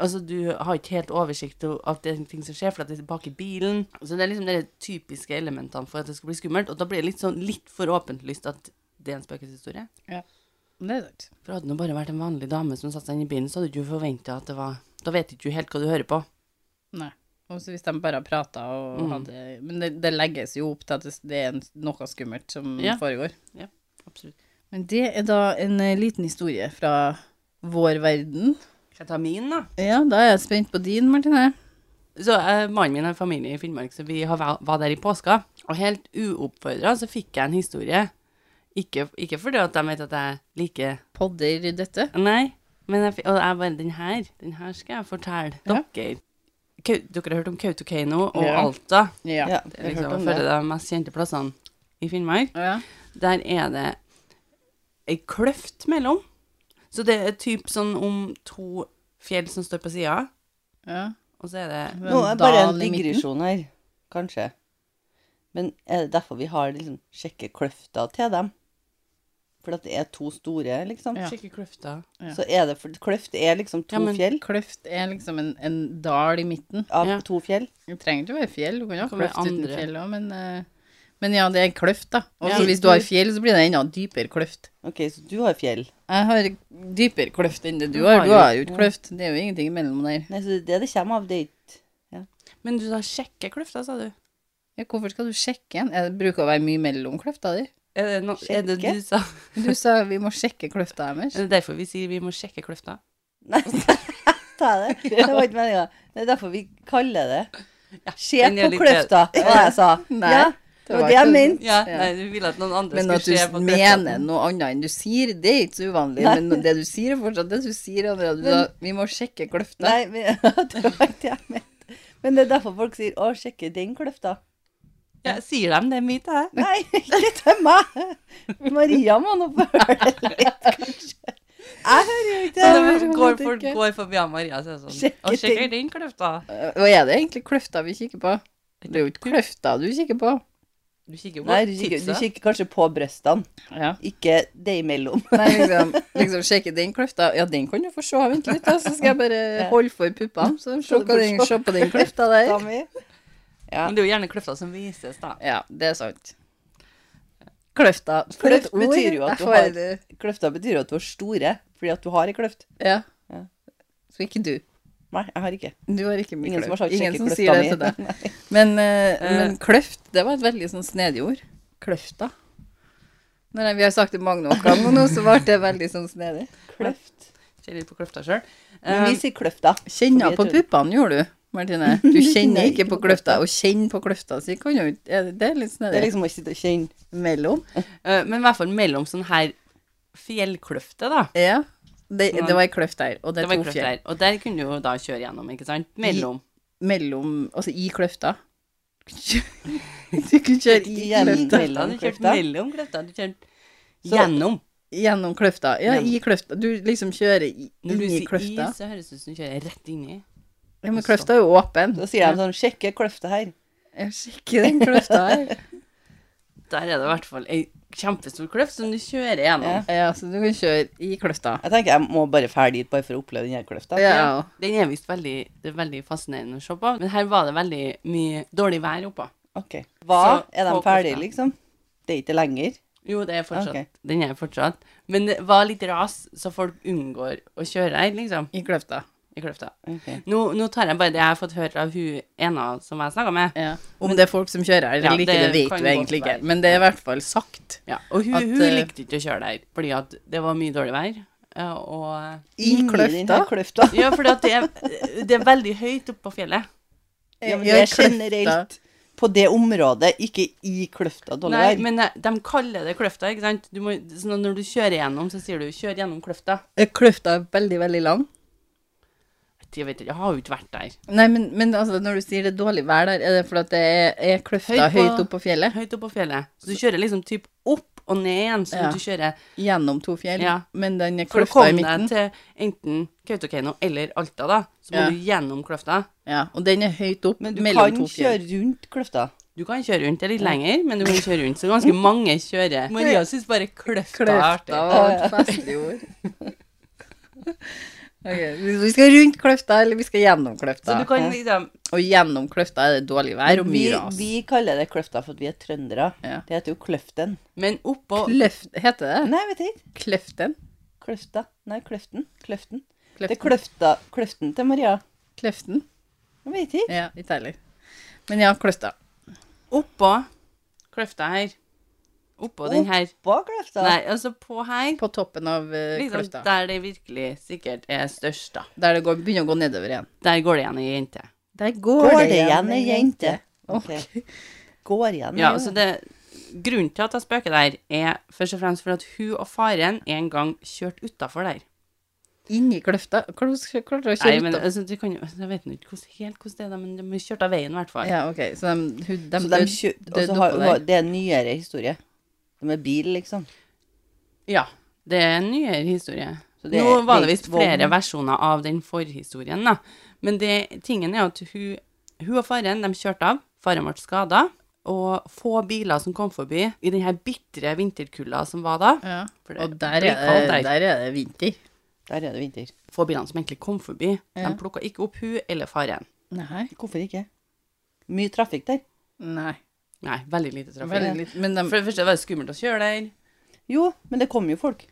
Speaker 3: Altså, du har ikke helt oversikt over at det er ting som skjer, for at det er bak i bilen. Så det er liksom de typiske elementene for at det skal bli skummelt. Og da blir det litt sånn litt for åpentlyst at det er en spøkelseshistorie.
Speaker 1: Det er sant.
Speaker 3: For hadde det nå bare vært en vanlig dame som satte seg inn i bilen, så hadde du ikke forventa at det var Da vet ikke du helt hva du hører på.
Speaker 1: Nei. Også hvis de bare har prata og
Speaker 3: Mm.
Speaker 1: hadde Men det, det legges jo opp til at det, det er en, noe skummelt som
Speaker 3: Ja.
Speaker 1: foregår.
Speaker 3: Absolutt.
Speaker 1: Men det er da en eh, liten historie fra vår verden.
Speaker 3: Skal jeg ta min, da?
Speaker 1: Ja, da er jeg spent på din, Martine.
Speaker 3: Så eh, Mannen min har familie i Finnmark, så vi har, væ- var der i påska. Og helt uoppfordra så fikk jeg en historie. Ikke, ikke fordi at de vet at jeg liker
Speaker 1: Podder dette.
Speaker 3: Nei, men jeg, fi- og jeg bare Den her, den her skal jeg fortelle
Speaker 1: Ja.
Speaker 3: dere. Kau, dere har hørt om Kautokeino og
Speaker 1: Ja.
Speaker 3: Alta.
Speaker 1: Ja.
Speaker 2: Ja,
Speaker 3: Det
Speaker 2: vi
Speaker 3: er
Speaker 2: hørte
Speaker 3: liksom
Speaker 2: om
Speaker 3: føler
Speaker 2: det.
Speaker 3: de mest kjente plassene i Finnmark.
Speaker 1: Ja.
Speaker 3: Der er det ei kløft mellom. Så det er typ sånn om to fjell som står på sida,
Speaker 1: ja.
Speaker 3: og så er det
Speaker 1: Med
Speaker 2: Nå er bare en
Speaker 1: dal i midten.
Speaker 2: digresjon her, kanskje. Men er det derfor vi har liksom sjekkekløfta til dem? For at det er to store, liksom?
Speaker 1: Ja.
Speaker 3: Skikkelig kløfter.
Speaker 1: Ja.
Speaker 2: Så er det for Kløft er liksom to
Speaker 3: Ja, men-
Speaker 2: fjell?
Speaker 1: Kløft er liksom en, en dal i midten.
Speaker 2: Av
Speaker 3: Ja.
Speaker 2: to fjell?
Speaker 1: Det trenger ikke å være fjell, du kan jo ha
Speaker 3: Det kan være
Speaker 1: kløft uten
Speaker 3: andre.
Speaker 1: fjell òg, men, eh, men ja, det er kløft, da. Og
Speaker 3: Ja.
Speaker 1: så hvis du har fjell, så blir det enda dypere kløft.
Speaker 2: OK, så du har fjell.
Speaker 1: Jeg har dypere kløft enn det du
Speaker 3: Du
Speaker 1: har.
Speaker 3: har
Speaker 1: Du
Speaker 3: jo-
Speaker 1: har jo ikke kløft. Det er jo ingenting imellom der.
Speaker 2: Nei, så det er det det kommer av. Det er ikke
Speaker 3: Men du sa 'sjekke kløfta', sa du.
Speaker 1: Ja, hvorfor skal du sjekke en? Jeg bruker å være mye mellom kløfta di.
Speaker 3: Er det, no, er det,
Speaker 2: Sjekke?
Speaker 3: du sa,
Speaker 1: Du sa vi må sjekke kløfta deres.
Speaker 3: er det derfor vi sier vi må sjekke kløfta?
Speaker 2: Nei, ta det. Det var ikke meninga. Det er derfor vi kaller det Se
Speaker 3: den er
Speaker 2: på
Speaker 3: litt
Speaker 2: kløfta, hva jeg sa.
Speaker 1: Nei,
Speaker 2: ja,
Speaker 1: det
Speaker 2: det var
Speaker 1: var
Speaker 2: det jeg
Speaker 1: ikke-
Speaker 2: mente.
Speaker 3: Ja,
Speaker 1: Ja.
Speaker 3: nei, du ville at noen andre
Speaker 1: Men
Speaker 3: skulle
Speaker 1: at du
Speaker 3: se på kløfta.
Speaker 1: mener noe annet enn du sier, det er ikke så uvanlig.
Speaker 2: Nei.
Speaker 1: Men det du sier, er fortsatt det du sier. Andrea. Du sa vi må sjekke kløfta.
Speaker 2: Nei, men, det var ikke det jeg mente. Men det er derfor folk sier 'Å, sjekke den kløfta'.
Speaker 3: Ja, sier de det mye til deg?
Speaker 2: Nei, ikke til meg. Maria må nå få høre det litt, kanskje. Jeg hører jo
Speaker 3: Så
Speaker 2: ikke det.
Speaker 3: det
Speaker 1: overhodet
Speaker 3: går, folk
Speaker 1: ikke.
Speaker 3: går forbi han Maria og sier sånn
Speaker 2: Sjekker
Speaker 3: Og sjekker
Speaker 2: ting.
Speaker 3: din kløfta.
Speaker 1: Eh, Hva er det egentlig kløfta vi kikker på? Det er jo ikke kløfta du kikker på.
Speaker 3: Du kikker jo på
Speaker 2: Nei, du kikker, du
Speaker 3: tipset.
Speaker 2: kikker kanskje på brystene,
Speaker 1: Ja.
Speaker 2: ikke det imellom.
Speaker 1: Nei, liksom, liksom sjekke den kløfta. Ja, den kan du få se. Vent litt, da. Så skal jeg bare holde for puppene. Så se, hva den, se på den kløfta der.
Speaker 2: Da mi. Ja.
Speaker 3: Men det er jo gjerne kløfta som vises, da.
Speaker 1: Ja, det er sant. Kløfta. For
Speaker 2: Kløft
Speaker 1: et ord.
Speaker 2: betyr jo
Speaker 1: Jeg
Speaker 2: at du har-
Speaker 1: får det.
Speaker 2: Kløfta betyr jo at du er store, fordi at du har ei kløft.
Speaker 1: Ja.
Speaker 2: Ja.
Speaker 1: Så ikke du.
Speaker 2: Nei, jeg har ikke.
Speaker 1: Du har ikke mye
Speaker 2: Ingen som har sagt
Speaker 1: Ingen som
Speaker 2: sjekkekløfta
Speaker 1: sier det
Speaker 2: mi.
Speaker 1: til deg. Men, eh,
Speaker 3: Eh.
Speaker 1: men kløft, det var et veldig sånn snedig ord. Kløfta. Når jeg- vi har sagt det mange nok ganger nå, så ble det veldig sånn snedig.
Speaker 2: Kløft.
Speaker 1: Um,
Speaker 3: Kjenner litt på kløfta Eh, sjøl.
Speaker 2: Men vi sier kløfta.
Speaker 1: Kjenner
Speaker 2: Fordi
Speaker 1: på
Speaker 2: jeg tror-
Speaker 1: puppene, gjorde du, Martine? Du kjenner
Speaker 2: Nei,
Speaker 1: ikke på kløfta. Å kjenne på kløfta si kan jo ikke- er det- Det er litt snedig.
Speaker 2: Det er liksom å sitte og kjenne.
Speaker 1: mellom.
Speaker 3: eh, men i hvert fall mellom sånn her fjellkløfte, da.
Speaker 1: Ja. Det,
Speaker 3: Sånn.
Speaker 1: det var ei kløft der, og det
Speaker 3: Det
Speaker 1: er
Speaker 3: var ei
Speaker 1: to
Speaker 3: kløft
Speaker 1: fjell.
Speaker 3: der. Og der kunne du jo da kjøre gjennom, ikke sant? Mellom.
Speaker 1: Mellom Altså i kløfta. Du kunne kjøre i
Speaker 2: Gjennom.
Speaker 1: kløfta.
Speaker 3: Da
Speaker 2: Mellom
Speaker 3: hadde du kjørt
Speaker 2: kløfta.
Speaker 3: mellom kløfta. Du kjørte
Speaker 1: Så-
Speaker 3: gjennom.
Speaker 1: Gjennom kløfta. Ja, i kløfta. Du liksom kjører i-
Speaker 3: Når du
Speaker 1: inn i
Speaker 3: sier i,
Speaker 1: kløfta.
Speaker 3: så høres det ut som du kjører rett inni.
Speaker 1: Ja, men kløfta er jo åpen.
Speaker 2: Da sier de sånn 'Sjekke kløfta her'.
Speaker 1: Jeg sjekker den kløfta her.
Speaker 3: Der er det i hvert fall ei kjempestor kløft som du kjører gjennom.
Speaker 2: Ja.
Speaker 1: Ja, så du kan kjøre i kløfta.
Speaker 2: Jeg tenker jeg må bare fære dit bare for å oppleve den her kløfta.
Speaker 1: Ja.
Speaker 3: Den er visst veldig, det er veldig fascinerende å se på. Men her var det veldig mye dårlig vær oppå.
Speaker 2: Ok. Hva?
Speaker 3: Så,
Speaker 2: Er de
Speaker 3: på
Speaker 2: ferdige,
Speaker 3: kløfta.
Speaker 2: liksom? Det er ikke lenger?
Speaker 3: Jo, det er fortsatt.
Speaker 2: Ok.
Speaker 3: Den er fortsatt. Men det var litt ras, så folk unngår å kjøre her, liksom,
Speaker 1: I kløfta.
Speaker 3: i kløfta.
Speaker 2: Ok.
Speaker 3: Nå, nå tar jeg bare det jeg har fått høre av hun ena som jeg snakka med.
Speaker 1: Ja. Om det er folk som kjører her eller
Speaker 3: Ja,
Speaker 1: ikke,
Speaker 3: det
Speaker 1: det vet
Speaker 3: kan
Speaker 1: du egentlig
Speaker 3: godt være.
Speaker 1: ikke. Men det er i hvert fall sagt.
Speaker 3: Ja, og hun,
Speaker 1: At,
Speaker 3: hun
Speaker 1: eh,
Speaker 3: likte ikke å kjøre der, fordi at det var mye dårlig vær. eh, Og
Speaker 1: I
Speaker 2: Inni den her
Speaker 1: kløfta.
Speaker 2: kløfta.
Speaker 3: Ja, fordi at det er, det er veldig høyt oppe på fjellet.
Speaker 2: Ja, men
Speaker 1: Ja,
Speaker 2: det er
Speaker 1: kløfta.
Speaker 2: generelt. på det området, ikke i kløfta
Speaker 3: Nei,
Speaker 2: Dollyvær.
Speaker 3: men eh, de kaller det kløfta, ikke sant? Du må, så når du kjører gjennom, så sier du 'kjør gjennom kløfta'.
Speaker 1: Er Kløfta er veldig, veldig lang.
Speaker 3: Jeg vet ikke, jeg har jo ikke vært der.
Speaker 1: Nei, men, men altså, når du sier det er dårlig vær der, er det fordi at det er, er kløfta
Speaker 3: Høyt på-
Speaker 1: høyt opp på fjellet?
Speaker 3: Høyt opp på fjellet. Så du kjører liksom typ opp og ned igjen, sånn
Speaker 1: Ja.
Speaker 3: at du kjører
Speaker 1: Gjennom to fjell?
Speaker 3: Ja.
Speaker 1: Men den er
Speaker 3: For å
Speaker 1: kløfta i
Speaker 3: komme deg
Speaker 1: midten?
Speaker 3: til enten Kautokeino eller Alta, da, så må
Speaker 1: Ja.
Speaker 3: du gjennom kløfta.
Speaker 1: Ja, og den er høyt opp
Speaker 2: Men du
Speaker 1: mellom
Speaker 2: kan
Speaker 1: to fjell.
Speaker 2: kjøre rundt kløfta.
Speaker 3: Du kan kjøre rundt, det er litt lenger, men du kan kjøre rundt. Så ganske mange kjører. Maria syns bare kløfta er artig.
Speaker 1: Kløfta var et festlig ord. Ok, vi- Vi skal rundt kløfta, eller vi skal gjennom
Speaker 3: Så
Speaker 1: kløfta.
Speaker 3: du kan liksom
Speaker 1: Og gjennom kløfta er det dårlig vær og
Speaker 2: Vi,
Speaker 1: mye ras.
Speaker 2: vi kaller det kløfta for at vi er trøndere.
Speaker 1: Ja.
Speaker 2: Det heter jo Kløften.
Speaker 3: Men oppå
Speaker 1: Kløft, heter det?
Speaker 2: Nei, vet jeg ikke.
Speaker 1: Kløften?
Speaker 2: Kløfta. Nei, Kløften. Kløften. Det er
Speaker 1: Kløften?
Speaker 2: kløfta, kløften til Maria.
Speaker 1: Kløften?
Speaker 2: Jeg vet ikke.
Speaker 1: Ja, ikke heller. Men ja, kløfta.
Speaker 3: Oppå kløfta her. Oppå den her.
Speaker 2: Oppå kløfta.
Speaker 3: Nei, altså på her.
Speaker 1: På toppen av eh,
Speaker 3: Liksom
Speaker 1: kløfta.
Speaker 3: der det virkelig sikkert er størst, da.
Speaker 1: Der det går, begynner å gå nedover igjen.
Speaker 3: Der går det igjen ei jente.
Speaker 1: Der går,
Speaker 2: Går det igjen ei jente? Ok.
Speaker 1: Ok.
Speaker 2: Går igjen
Speaker 3: Ja,
Speaker 2: ei
Speaker 3: altså det Grunnen til at jeg spøker der, er først og fremst fordi at hun og faren en gang kjørte utafor der.
Speaker 1: Inni kløfta? Hvordan skal- hvordan klarer du å
Speaker 3: Nei,
Speaker 1: kjøre
Speaker 3: men
Speaker 1: utover?
Speaker 3: altså, du kan, jo- altså, jeg vet nå ikke hvordan- helt hvordan det er, da, men de kjørte av veien i hvert fall.
Speaker 1: Ja, ok. Så de, hun- de,
Speaker 2: Så
Speaker 1: død-
Speaker 2: de kjø...
Speaker 1: død
Speaker 2: og så har,
Speaker 1: oppå der.
Speaker 2: det er en nyere historie. De er bil, liksom.
Speaker 3: Ja, det er en nyere historie.
Speaker 2: Så det
Speaker 3: Nå
Speaker 2: er-
Speaker 3: var
Speaker 2: det
Speaker 3: det
Speaker 2: er
Speaker 3: visst
Speaker 2: vogn.
Speaker 3: flere versjoner av den forhistorien, da. Men det, tingen er at hun, hun og faren de kjørte av. Faren ble skada. Og få biler som kom forbi i den her bitre vinterkulda som var da.
Speaker 1: Ja.
Speaker 3: For det
Speaker 1: Og der
Speaker 3: blir
Speaker 1: er,
Speaker 3: kaldt
Speaker 1: det,
Speaker 3: der.
Speaker 1: der er det vinter.
Speaker 2: Der er det vinter.
Speaker 3: Få bilene som egentlig kom forbi.
Speaker 1: Ja.
Speaker 3: De plukka ikke opp hun eller faren.
Speaker 1: Nei.
Speaker 2: Hvorfor ikke? Mye trafikk der.
Speaker 1: Nei.
Speaker 3: Nei, veldig lite trafikk.
Speaker 1: Veldig litt. Men de
Speaker 3: For det første var det skummelt å kjøre der.
Speaker 2: Jo, men det kommer jo folk.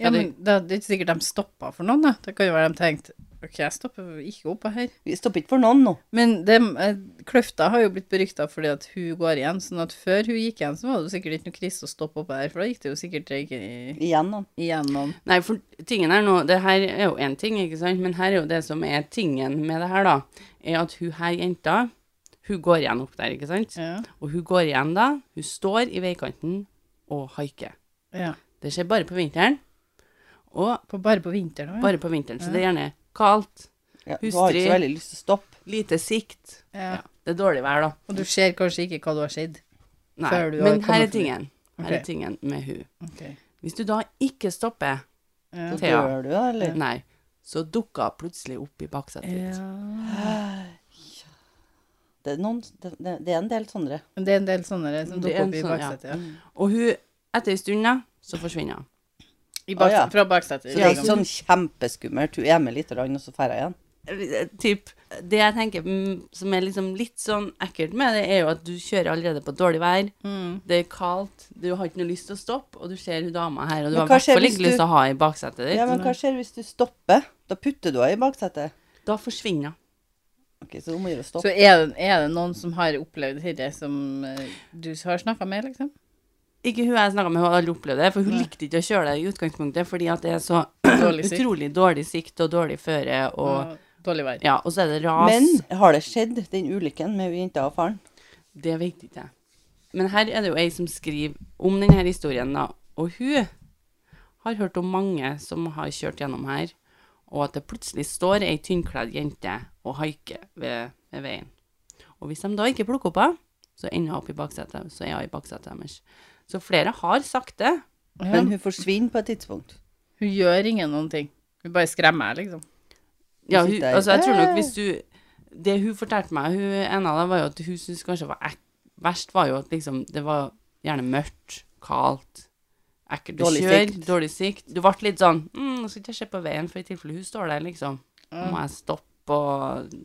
Speaker 1: Ja, men da, det er ikke sikkert de stoppa for noen, da. Det kan jo være de tenkte OK, jeg stopper ikke opp her.
Speaker 2: Vi stopper ikke for noen nå.
Speaker 1: Men dem, eh, Kløfta har jo blitt berykta fordi at hun går igjen. sånn at før hun gikk igjen, så var det jo sikkert ikke noe krise å stoppe opp her, for da gikk det jo sikkert ikke i-
Speaker 2: Igjen, da.
Speaker 1: igjennom.
Speaker 3: Nei, for tingen her nå, det her er jo en ting, ikke sant, men her er jo det som er tingen med det her da, er at hun her jenta, hun går igjen opp der, ikke sant?
Speaker 1: Ja.
Speaker 3: Og hun går igjen da, hun står i veikanten og haiker.
Speaker 1: ja.
Speaker 3: Det skjer bare på vinteren, og
Speaker 1: På, bare på vinteren òg.
Speaker 3: bare på vinteren, så det er gjerne kaldt,
Speaker 2: Ja, du har ikke
Speaker 3: Hustrig.
Speaker 2: så veldig lyst til å stoppe.
Speaker 3: lite sikt,
Speaker 1: Ja.
Speaker 3: ja. det er dårlig vær da.
Speaker 1: Og du ser kanskje ikke hva du har sett.
Speaker 3: Nei,
Speaker 1: Før du har
Speaker 3: men her
Speaker 1: kommet
Speaker 3: er tingen, her
Speaker 1: Ok.
Speaker 3: er tingen med hun.
Speaker 1: Ok.
Speaker 3: Hvis du da ikke stopper,
Speaker 1: Ja.
Speaker 2: Så
Speaker 3: Thea.
Speaker 2: dør du, da, eller?
Speaker 3: nei, så dukker hun plutselig opp i baksettet ditt.
Speaker 1: Ja.
Speaker 2: Det er, noen, det, det det er en del sånne.
Speaker 1: Men Det er en del sånne som
Speaker 3: Det er
Speaker 1: dukker
Speaker 3: en
Speaker 1: opp i
Speaker 3: sånn, ja.
Speaker 1: baksetet. Ja.
Speaker 3: Og hun, etter en stund da, så forsvinner hun.
Speaker 1: I
Speaker 2: Å, ja.
Speaker 1: baksetet Fra baksetet.
Speaker 2: Så det er
Speaker 1: liksom.
Speaker 2: ikke sånn kjempeskummelt. Du er med litt, og så drar jeg igjen.
Speaker 3: typ, det jeg tenker mm, som er liksom litt sånn ekkelt med det, er jo at du kjører allerede på dårlig vær,
Speaker 1: Mm.
Speaker 3: det er kaldt, du har ikke noe lyst til å stoppe, og du ser hun dama her, og du
Speaker 2: Men
Speaker 3: har i
Speaker 2: hva
Speaker 3: hvert
Speaker 2: skjer
Speaker 3: fall
Speaker 2: hvis
Speaker 3: ikke lyst til å ha i baksetet ditt.
Speaker 2: Ja, men hva skjer hvis du stopper? Da putter du henne i baksetet.
Speaker 3: Da forsvinner hun.
Speaker 2: Ok, så hun må gjøre å
Speaker 1: Så
Speaker 2: stoppe.
Speaker 1: er det, er det noen som har opplevd dette, som eh, du har snakka med, liksom?
Speaker 3: Ikke hun jeg snakka med, hun har aldri opplevd det, for hun likte ikke å kjøre det i utgangspunktet, fordi at det er så
Speaker 1: Dårlig sikt.
Speaker 3: utrolig dårlig sikt og dårlig føre, og
Speaker 1: Og dårlig vær.
Speaker 3: ja, og så er det ras.
Speaker 2: Men har det skjedd, den ulykken med jenta og faren?
Speaker 3: Det vet ikke jeg. Men her er det jo ei som skriver om denne historien, da. Og hun har hørt om mange som har kjørt gjennom her, og at det plutselig står ei tynnkledd jente og haiker ved, ved veien. Og hvis de da ikke plukker opp henne, så ender hun opp i baksetet, så er hun i baksetet deres. Så flere har sagt det.
Speaker 1: Ja.
Speaker 2: Men hun forsvinner på et tidspunkt.
Speaker 1: Hun gjør ingen noen ting. Hun bare skremmer, liksom.
Speaker 3: Ja,
Speaker 2: Hun
Speaker 3: hun,
Speaker 2: sitter her.
Speaker 3: altså jeg tror nok hvis du Det hun fortalte meg, hun ene av dem, var jo at hun syntes kanskje var ek, verst var jo at liksom det var gjerne mørkt, kaldt, ekkelt. Du
Speaker 2: Dårlig
Speaker 3: kjører,
Speaker 2: sikt.
Speaker 3: dårlig sikt. Du ble litt sånn mm, Nå skal ikke jeg se på veien, for i tilfelle hun står der, liksom. Nå må jeg stoppe og,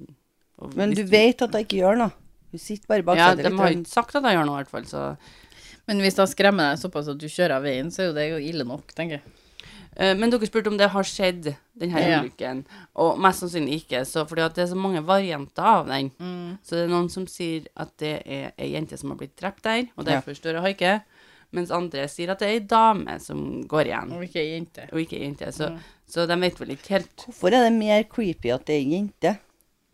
Speaker 3: og
Speaker 2: Men
Speaker 3: hvis
Speaker 2: du vet at hun ikke gjør noe. Hun sitter bare i
Speaker 3: Ja,
Speaker 2: baksetet
Speaker 3: de har
Speaker 2: litt.
Speaker 3: ikke sagt at jeg gjør noe, i hvert fall, så
Speaker 1: Men hvis hun skremmer deg såpass at du kjører av veien, så er jo det jo ille nok, tenker jeg.
Speaker 3: Eh, Men dere spurte om det har skjedd, denne
Speaker 1: Ja.
Speaker 3: ulykken. Og mest sannsynlig ikke, så fordi at det er så mange varianter av den.
Speaker 1: Mm.
Speaker 3: Så det er noen som sier at det er ei jente som har blitt drept der, og
Speaker 2: Ja.
Speaker 3: derfor står hun og haiker. Mens andre sier at det er ei dame som går igjen,
Speaker 1: Og ikke ei jente. Mm.
Speaker 3: og ikke ei jente. Så, så de vet vel ikke helt.
Speaker 2: Hvorfor er det mer creepy at det er en jente?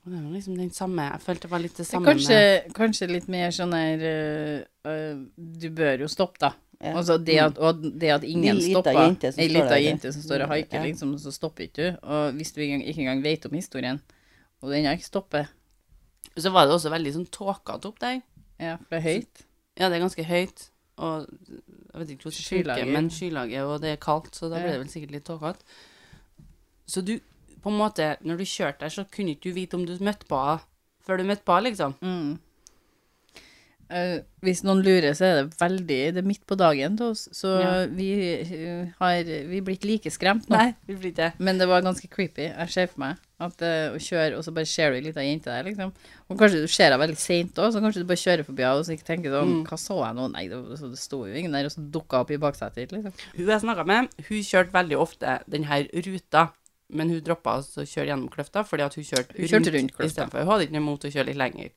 Speaker 3: Og Det var liksom den samme Jeg følte det var litt det
Speaker 1: Det er
Speaker 3: samme
Speaker 1: kanskje, kanskje litt mer sånn her øh, øh, Du bør jo stoppe, da.
Speaker 2: Ja.
Speaker 1: Altså det at, og det at ingen
Speaker 2: Ei lita
Speaker 1: stopper.
Speaker 2: jente som
Speaker 1: Ei
Speaker 2: står
Speaker 1: lita
Speaker 2: der. Mm,
Speaker 1: jente som står og haiker,
Speaker 2: Ja.
Speaker 1: liksom, så stopper ikke du. Og hvis du ikke engang- ikke engang vet om historien, og den ikke stopper
Speaker 3: med Så var det også veldig sånn tåkete opp der.
Speaker 1: Ja, for det er høyt.
Speaker 3: Ja, det er ganske høyt. Og jeg vet ikke hvordan det
Speaker 1: Skylaget.
Speaker 3: funker, men skylaget, og det er kaldt, så da
Speaker 1: Ja.
Speaker 3: blir det vel sikkert litt tåkete. Så du, på en måte, når du kjørte der, så kunne ikke du vite om du møtte på henne før du møtte på henne, liksom.
Speaker 1: Mm. Eh, hvis noen lurer, så er det veldig Det er midt på dagen til oss, så
Speaker 3: Ja.
Speaker 1: vi eh, har vi er blitt like skremt nå.
Speaker 3: Nei, vi blir ikke det.
Speaker 1: Men det var ganske creepy. Jeg ser for meg at eh, å kjøre, og så bare ser du ei lita jente der, liksom. Og kanskje du ser henne veldig seint òg, så kanskje du bare kjører forbi henne og så ikke tenker sånn
Speaker 3: Mm.
Speaker 1: Hva så jeg nå? Nei, det, var- så det sto jo ingen der, og så dukka hun opp i baksetet ditt, liksom.
Speaker 3: Hun jeg snakka med, hun kjørte veldig ofte denne ruta, men hun droppa å kjøre gjennom kløfta fordi at hun kjørte
Speaker 1: Hun kjørte rundt kløfta.
Speaker 3: i stedet for. Hun hadde ikke noe imot å kjøre litt lenger.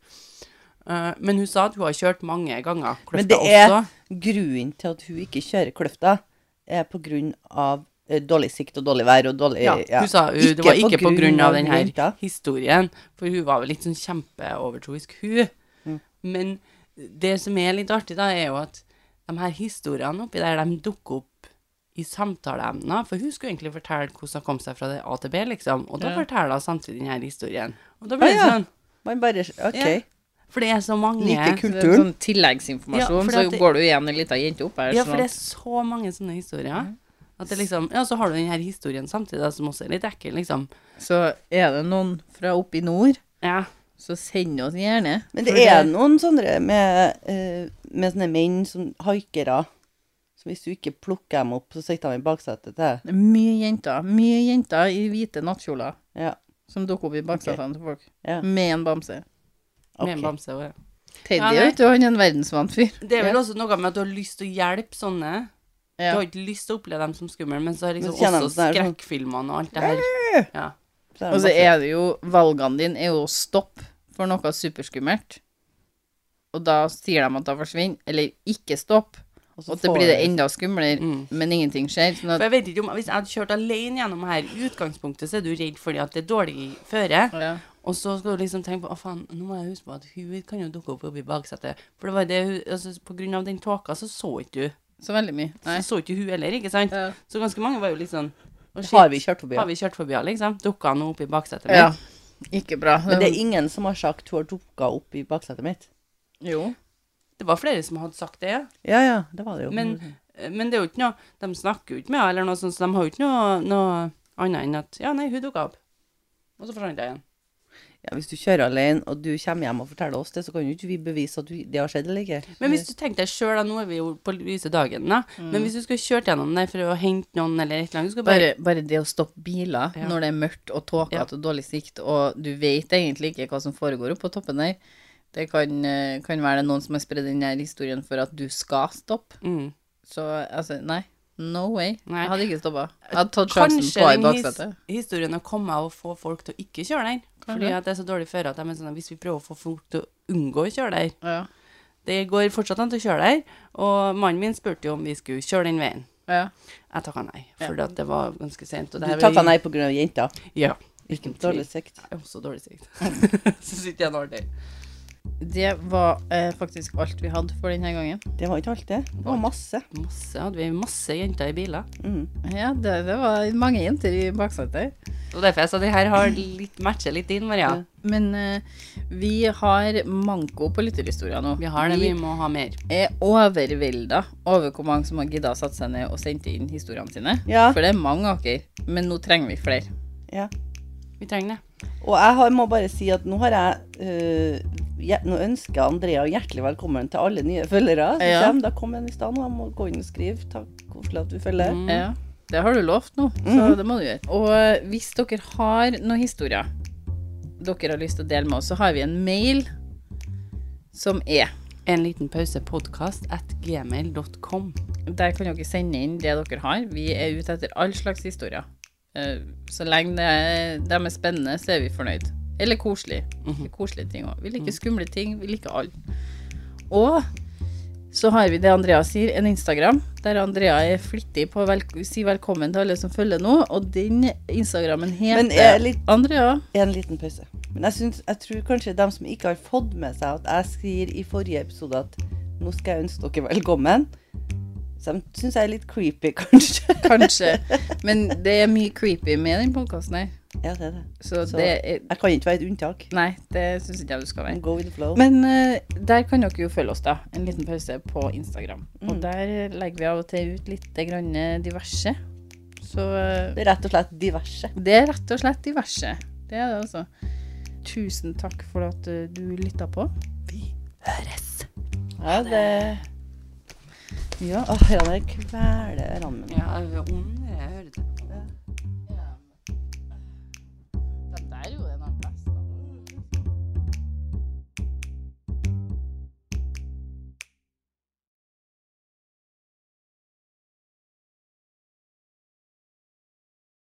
Speaker 3: Eh, men hun sa at hun har kjørt mange ganger kløfta
Speaker 2: Men det er
Speaker 3: også.
Speaker 2: grunnen til at hun ikke kjører kløfta, er på grunn av eh, dårlig sikt og dårlig vær og dårlig
Speaker 3: Ja, hun sa hun, det var ikke på grunn, av den her
Speaker 2: ruta.
Speaker 3: historien, for hun var vel litt sånn kjempeovertroisk, hun. Men det som er litt artig, da, er jo at de her historiene oppi der, de dukker opp i samtaleemner, for hun skulle egentlig fortelle hvordan hun kom seg fra det A til B, liksom, og da
Speaker 1: Ja.
Speaker 3: forteller hun samtidig den her historien. Og da ble det
Speaker 2: ja.
Speaker 3: sånn,
Speaker 2: Man bare OK.
Speaker 3: Ja. for det er så mange
Speaker 2: Like
Speaker 1: Så det er
Speaker 2: kulturen.
Speaker 1: sånn tilleggsinformasjon,
Speaker 3: Ja, for
Speaker 1: så
Speaker 3: at det-
Speaker 1: går du igjen ei lita jente opp her.
Speaker 3: Ja,
Speaker 1: sånn
Speaker 3: for det
Speaker 1: at-
Speaker 3: er så mange sånne historier. At det liksom, ja, så har du den her historien samtidig, da, som også er litt ekkel, liksom.
Speaker 1: Så er det noen fra oppe i nord,
Speaker 3: Ja.
Speaker 1: så send oss gjerne.
Speaker 2: Men det
Speaker 1: For
Speaker 2: er noen sånne med, eh, med sånne menn som haikere. Så hvis du ikke plukker dem opp, så sitter de i baksetet til deg.
Speaker 1: det er mye jenter. Mye jenter i hvite nattkjoler
Speaker 2: Ja.
Speaker 1: som dukker opp i baksetene til folk.
Speaker 2: Ja.
Speaker 1: Med en bamse.
Speaker 3: Med en
Speaker 2: ok.
Speaker 3: bamse og ja.
Speaker 1: Teddy,
Speaker 3: Ja, nei.
Speaker 1: vet du, han er en verdensvant fyr.
Speaker 3: Det er vel også noe med at du har lyst til å hjelpe sånne. Du
Speaker 1: Ja.
Speaker 3: har ikke lyst til å oppleve dem som skumle, men så har liksom
Speaker 2: Men så kjenner de
Speaker 3: også
Speaker 2: sånn Eh! her sånn-
Speaker 3: skrekkfilmene og alt det her. Ja.
Speaker 2: Så er
Speaker 1: Og så
Speaker 2: masse-
Speaker 1: er det jo Valgene dine er jo å stoppe for noe superskummelt. Og da sier de at da forsvinner. Eller ikke stopp.
Speaker 2: og så
Speaker 1: Og det
Speaker 2: får
Speaker 1: blir det
Speaker 2: du-
Speaker 1: enda skumlere,
Speaker 3: Mm.
Speaker 1: men ingenting skjer. Sånn
Speaker 3: For
Speaker 1: at
Speaker 3: jeg vet ikke om, Hvis jeg hadde kjørt alene gjennom her, i utgangspunktet, så er du redd fordi at det er dårlig føre.
Speaker 1: ja.
Speaker 3: Og så skal du liksom tenke på Å, faen, nå må jeg huske på at hun kan jo dukke opp oppi baksetet. For det var det hun altså, På grunn av den tåka så så ikke du.
Speaker 1: Så veldig mye. Nei.
Speaker 3: Så så ikke hun heller, ikke sant?
Speaker 1: Ja.
Speaker 3: Så ganske mange var jo litt sånn Å, shit,
Speaker 2: Har vi kjørt forbi?
Speaker 3: har vi kjørt forbi henne, liksom? Dukka hun opp i baksetet?
Speaker 1: ja.
Speaker 3: mitt?
Speaker 1: Ikke bra.
Speaker 2: Men det er ingen som har sagt hun har dukka opp i baksetet mitt.
Speaker 1: Jo.
Speaker 3: Det var flere som hadde sagt det, ja.
Speaker 2: Ja, ja, det var det jo.
Speaker 3: Men, men det er jo ikke noe De snakker jo ikke med henne, eller noe sånt, så de har jo ikke noe, noe annet enn at Ja, nei, hun dukka opp. Og så forsvant hun igjen.
Speaker 2: ja, hvis du kjører alene, og du kommer hjem og forteller oss det, så kan jo ikke vi bevise at du, det har skjedd eller ikke.
Speaker 3: Men hvis du tenker deg sjøl, da, nå er vi jo på lyse dagen, da, men hvis du skulle kjørt gjennom der for å hente noen eller et eller annet, du skulle Mm. bare
Speaker 1: Bare, bare det å stoppe biler
Speaker 3: Ja.
Speaker 1: når det er mørkt og tåkete
Speaker 3: Ja.
Speaker 1: og dårlig sikt, og du vet egentlig ikke hva som foregår oppe på toppen der Det kan, eh, kan være det er noen som har spredd den her historien for at du skal stoppe.
Speaker 3: mm.
Speaker 1: Så altså, nei. No way.
Speaker 3: Nei.
Speaker 1: Jeg hadde ikke stoppa. Jeg hadde tatt sjansen
Speaker 3: Kanskje
Speaker 1: på ei
Speaker 3: den his
Speaker 1: baksetet.
Speaker 3: historien har kommet av å komme og få folk til å ikke kjøre der. Fordi
Speaker 1: Kanskje.
Speaker 3: at det er så dårlig føre at de er sånn at hvis vi prøver å få folk til å unngå å kjøre der
Speaker 1: Ja.
Speaker 3: Det går fortsatt an til å kjøre der, og mannen min spurte jo om vi skulle kjøre den veien.
Speaker 1: ja.
Speaker 3: Jeg takka nei, for det var ganske sent. og
Speaker 2: Du
Speaker 3: det her var
Speaker 2: takka
Speaker 3: i-
Speaker 2: nei pga. jenta.
Speaker 3: Ja.
Speaker 2: Ikke dårlig sikt.
Speaker 3: Jeg er også dårlig sikt. så sitter jeg en år til.
Speaker 1: Det var eh, faktisk alt vi hadde for denne gangen.
Speaker 2: Det var ikke alt, det. Det var masse.
Speaker 3: Masse, hadde vi masse jenter i biler.
Speaker 2: Mm.
Speaker 1: Ja, det, det var mange jenter i baksetet.
Speaker 3: Og derfor jeg sa det her har litt, matcher litt inn, Maria.
Speaker 1: Men eh, vi har manko på lytterhistorier nå.
Speaker 3: Vi har det, vi må ha mer.
Speaker 1: er overvelda over hvor mange som har gidda å sette seg ned og sendte inn historiene sine.
Speaker 2: Ja,
Speaker 1: For det er mange av dere, men nå trenger vi flere.
Speaker 2: ja.
Speaker 3: Vi trenger det.
Speaker 2: Og jeg har, må bare si at nå har jeg øh, hjer- Nå ønsker jeg Andrea hjertelig velkommen til alle nye følgere. som
Speaker 1: Ja.
Speaker 2: kommer. Da kom en i stad, og jeg må gå inn og skrive. Takk, koselig at du følger.
Speaker 3: Mm.
Speaker 1: Ja, det har du lovt nå, så det må du gjøre. Og eh, hvis dere har noen historier dere har lyst til å dele med oss, så har vi en mail som er
Speaker 3: En liten pause podcast at gmail.com.
Speaker 1: Der kan dere sende inn det dere har. Vi er ute etter all slags historier. Eh, Så lenge det er, de er spennende, så er vi fornøyd. Eller koselig. Vi
Speaker 2: Mhm.
Speaker 1: liker Koselige ting òg. Vi liker skumle ting. Vi liker alle. Og så har vi det Andrea sier, en Instagram, der Andrea er flittig på å vel si velkommen til alle som følger nå. Og den Instagrammen heter
Speaker 2: Men jeg er litt-
Speaker 1: Andrea
Speaker 2: En liten pause. Men jeg, synes, jeg tror kanskje de som ikke har fått med seg at jeg sier i forrige episode at nå skal jeg ønske dere velkommen, så de syns jeg er litt creepy, kanskje.
Speaker 1: Kanskje. Men det er mye creepy med den podkasten her.
Speaker 2: Ja, det er det.
Speaker 1: Så,
Speaker 2: Så-
Speaker 1: det er
Speaker 2: Jeg kan ikke være et unntak.
Speaker 1: Nei, det syns ikke jeg du skal være.
Speaker 2: Go with the flow.
Speaker 1: Men eh, der kan dere jo følge oss, da. En liten pause på Instagram. Og
Speaker 2: Mm.
Speaker 1: der legger vi av og til ut litt grann diverse. Så eh,
Speaker 2: det er rett og slett diverse.
Speaker 1: det er rett og slett diverse. Det er det, altså. Tusen takk for at eh, du lytta på.
Speaker 2: Ja, det
Speaker 1: Ja.
Speaker 2: Åh, ja, det kveler rammen.
Speaker 3: Ja, jeg er ond, jeg.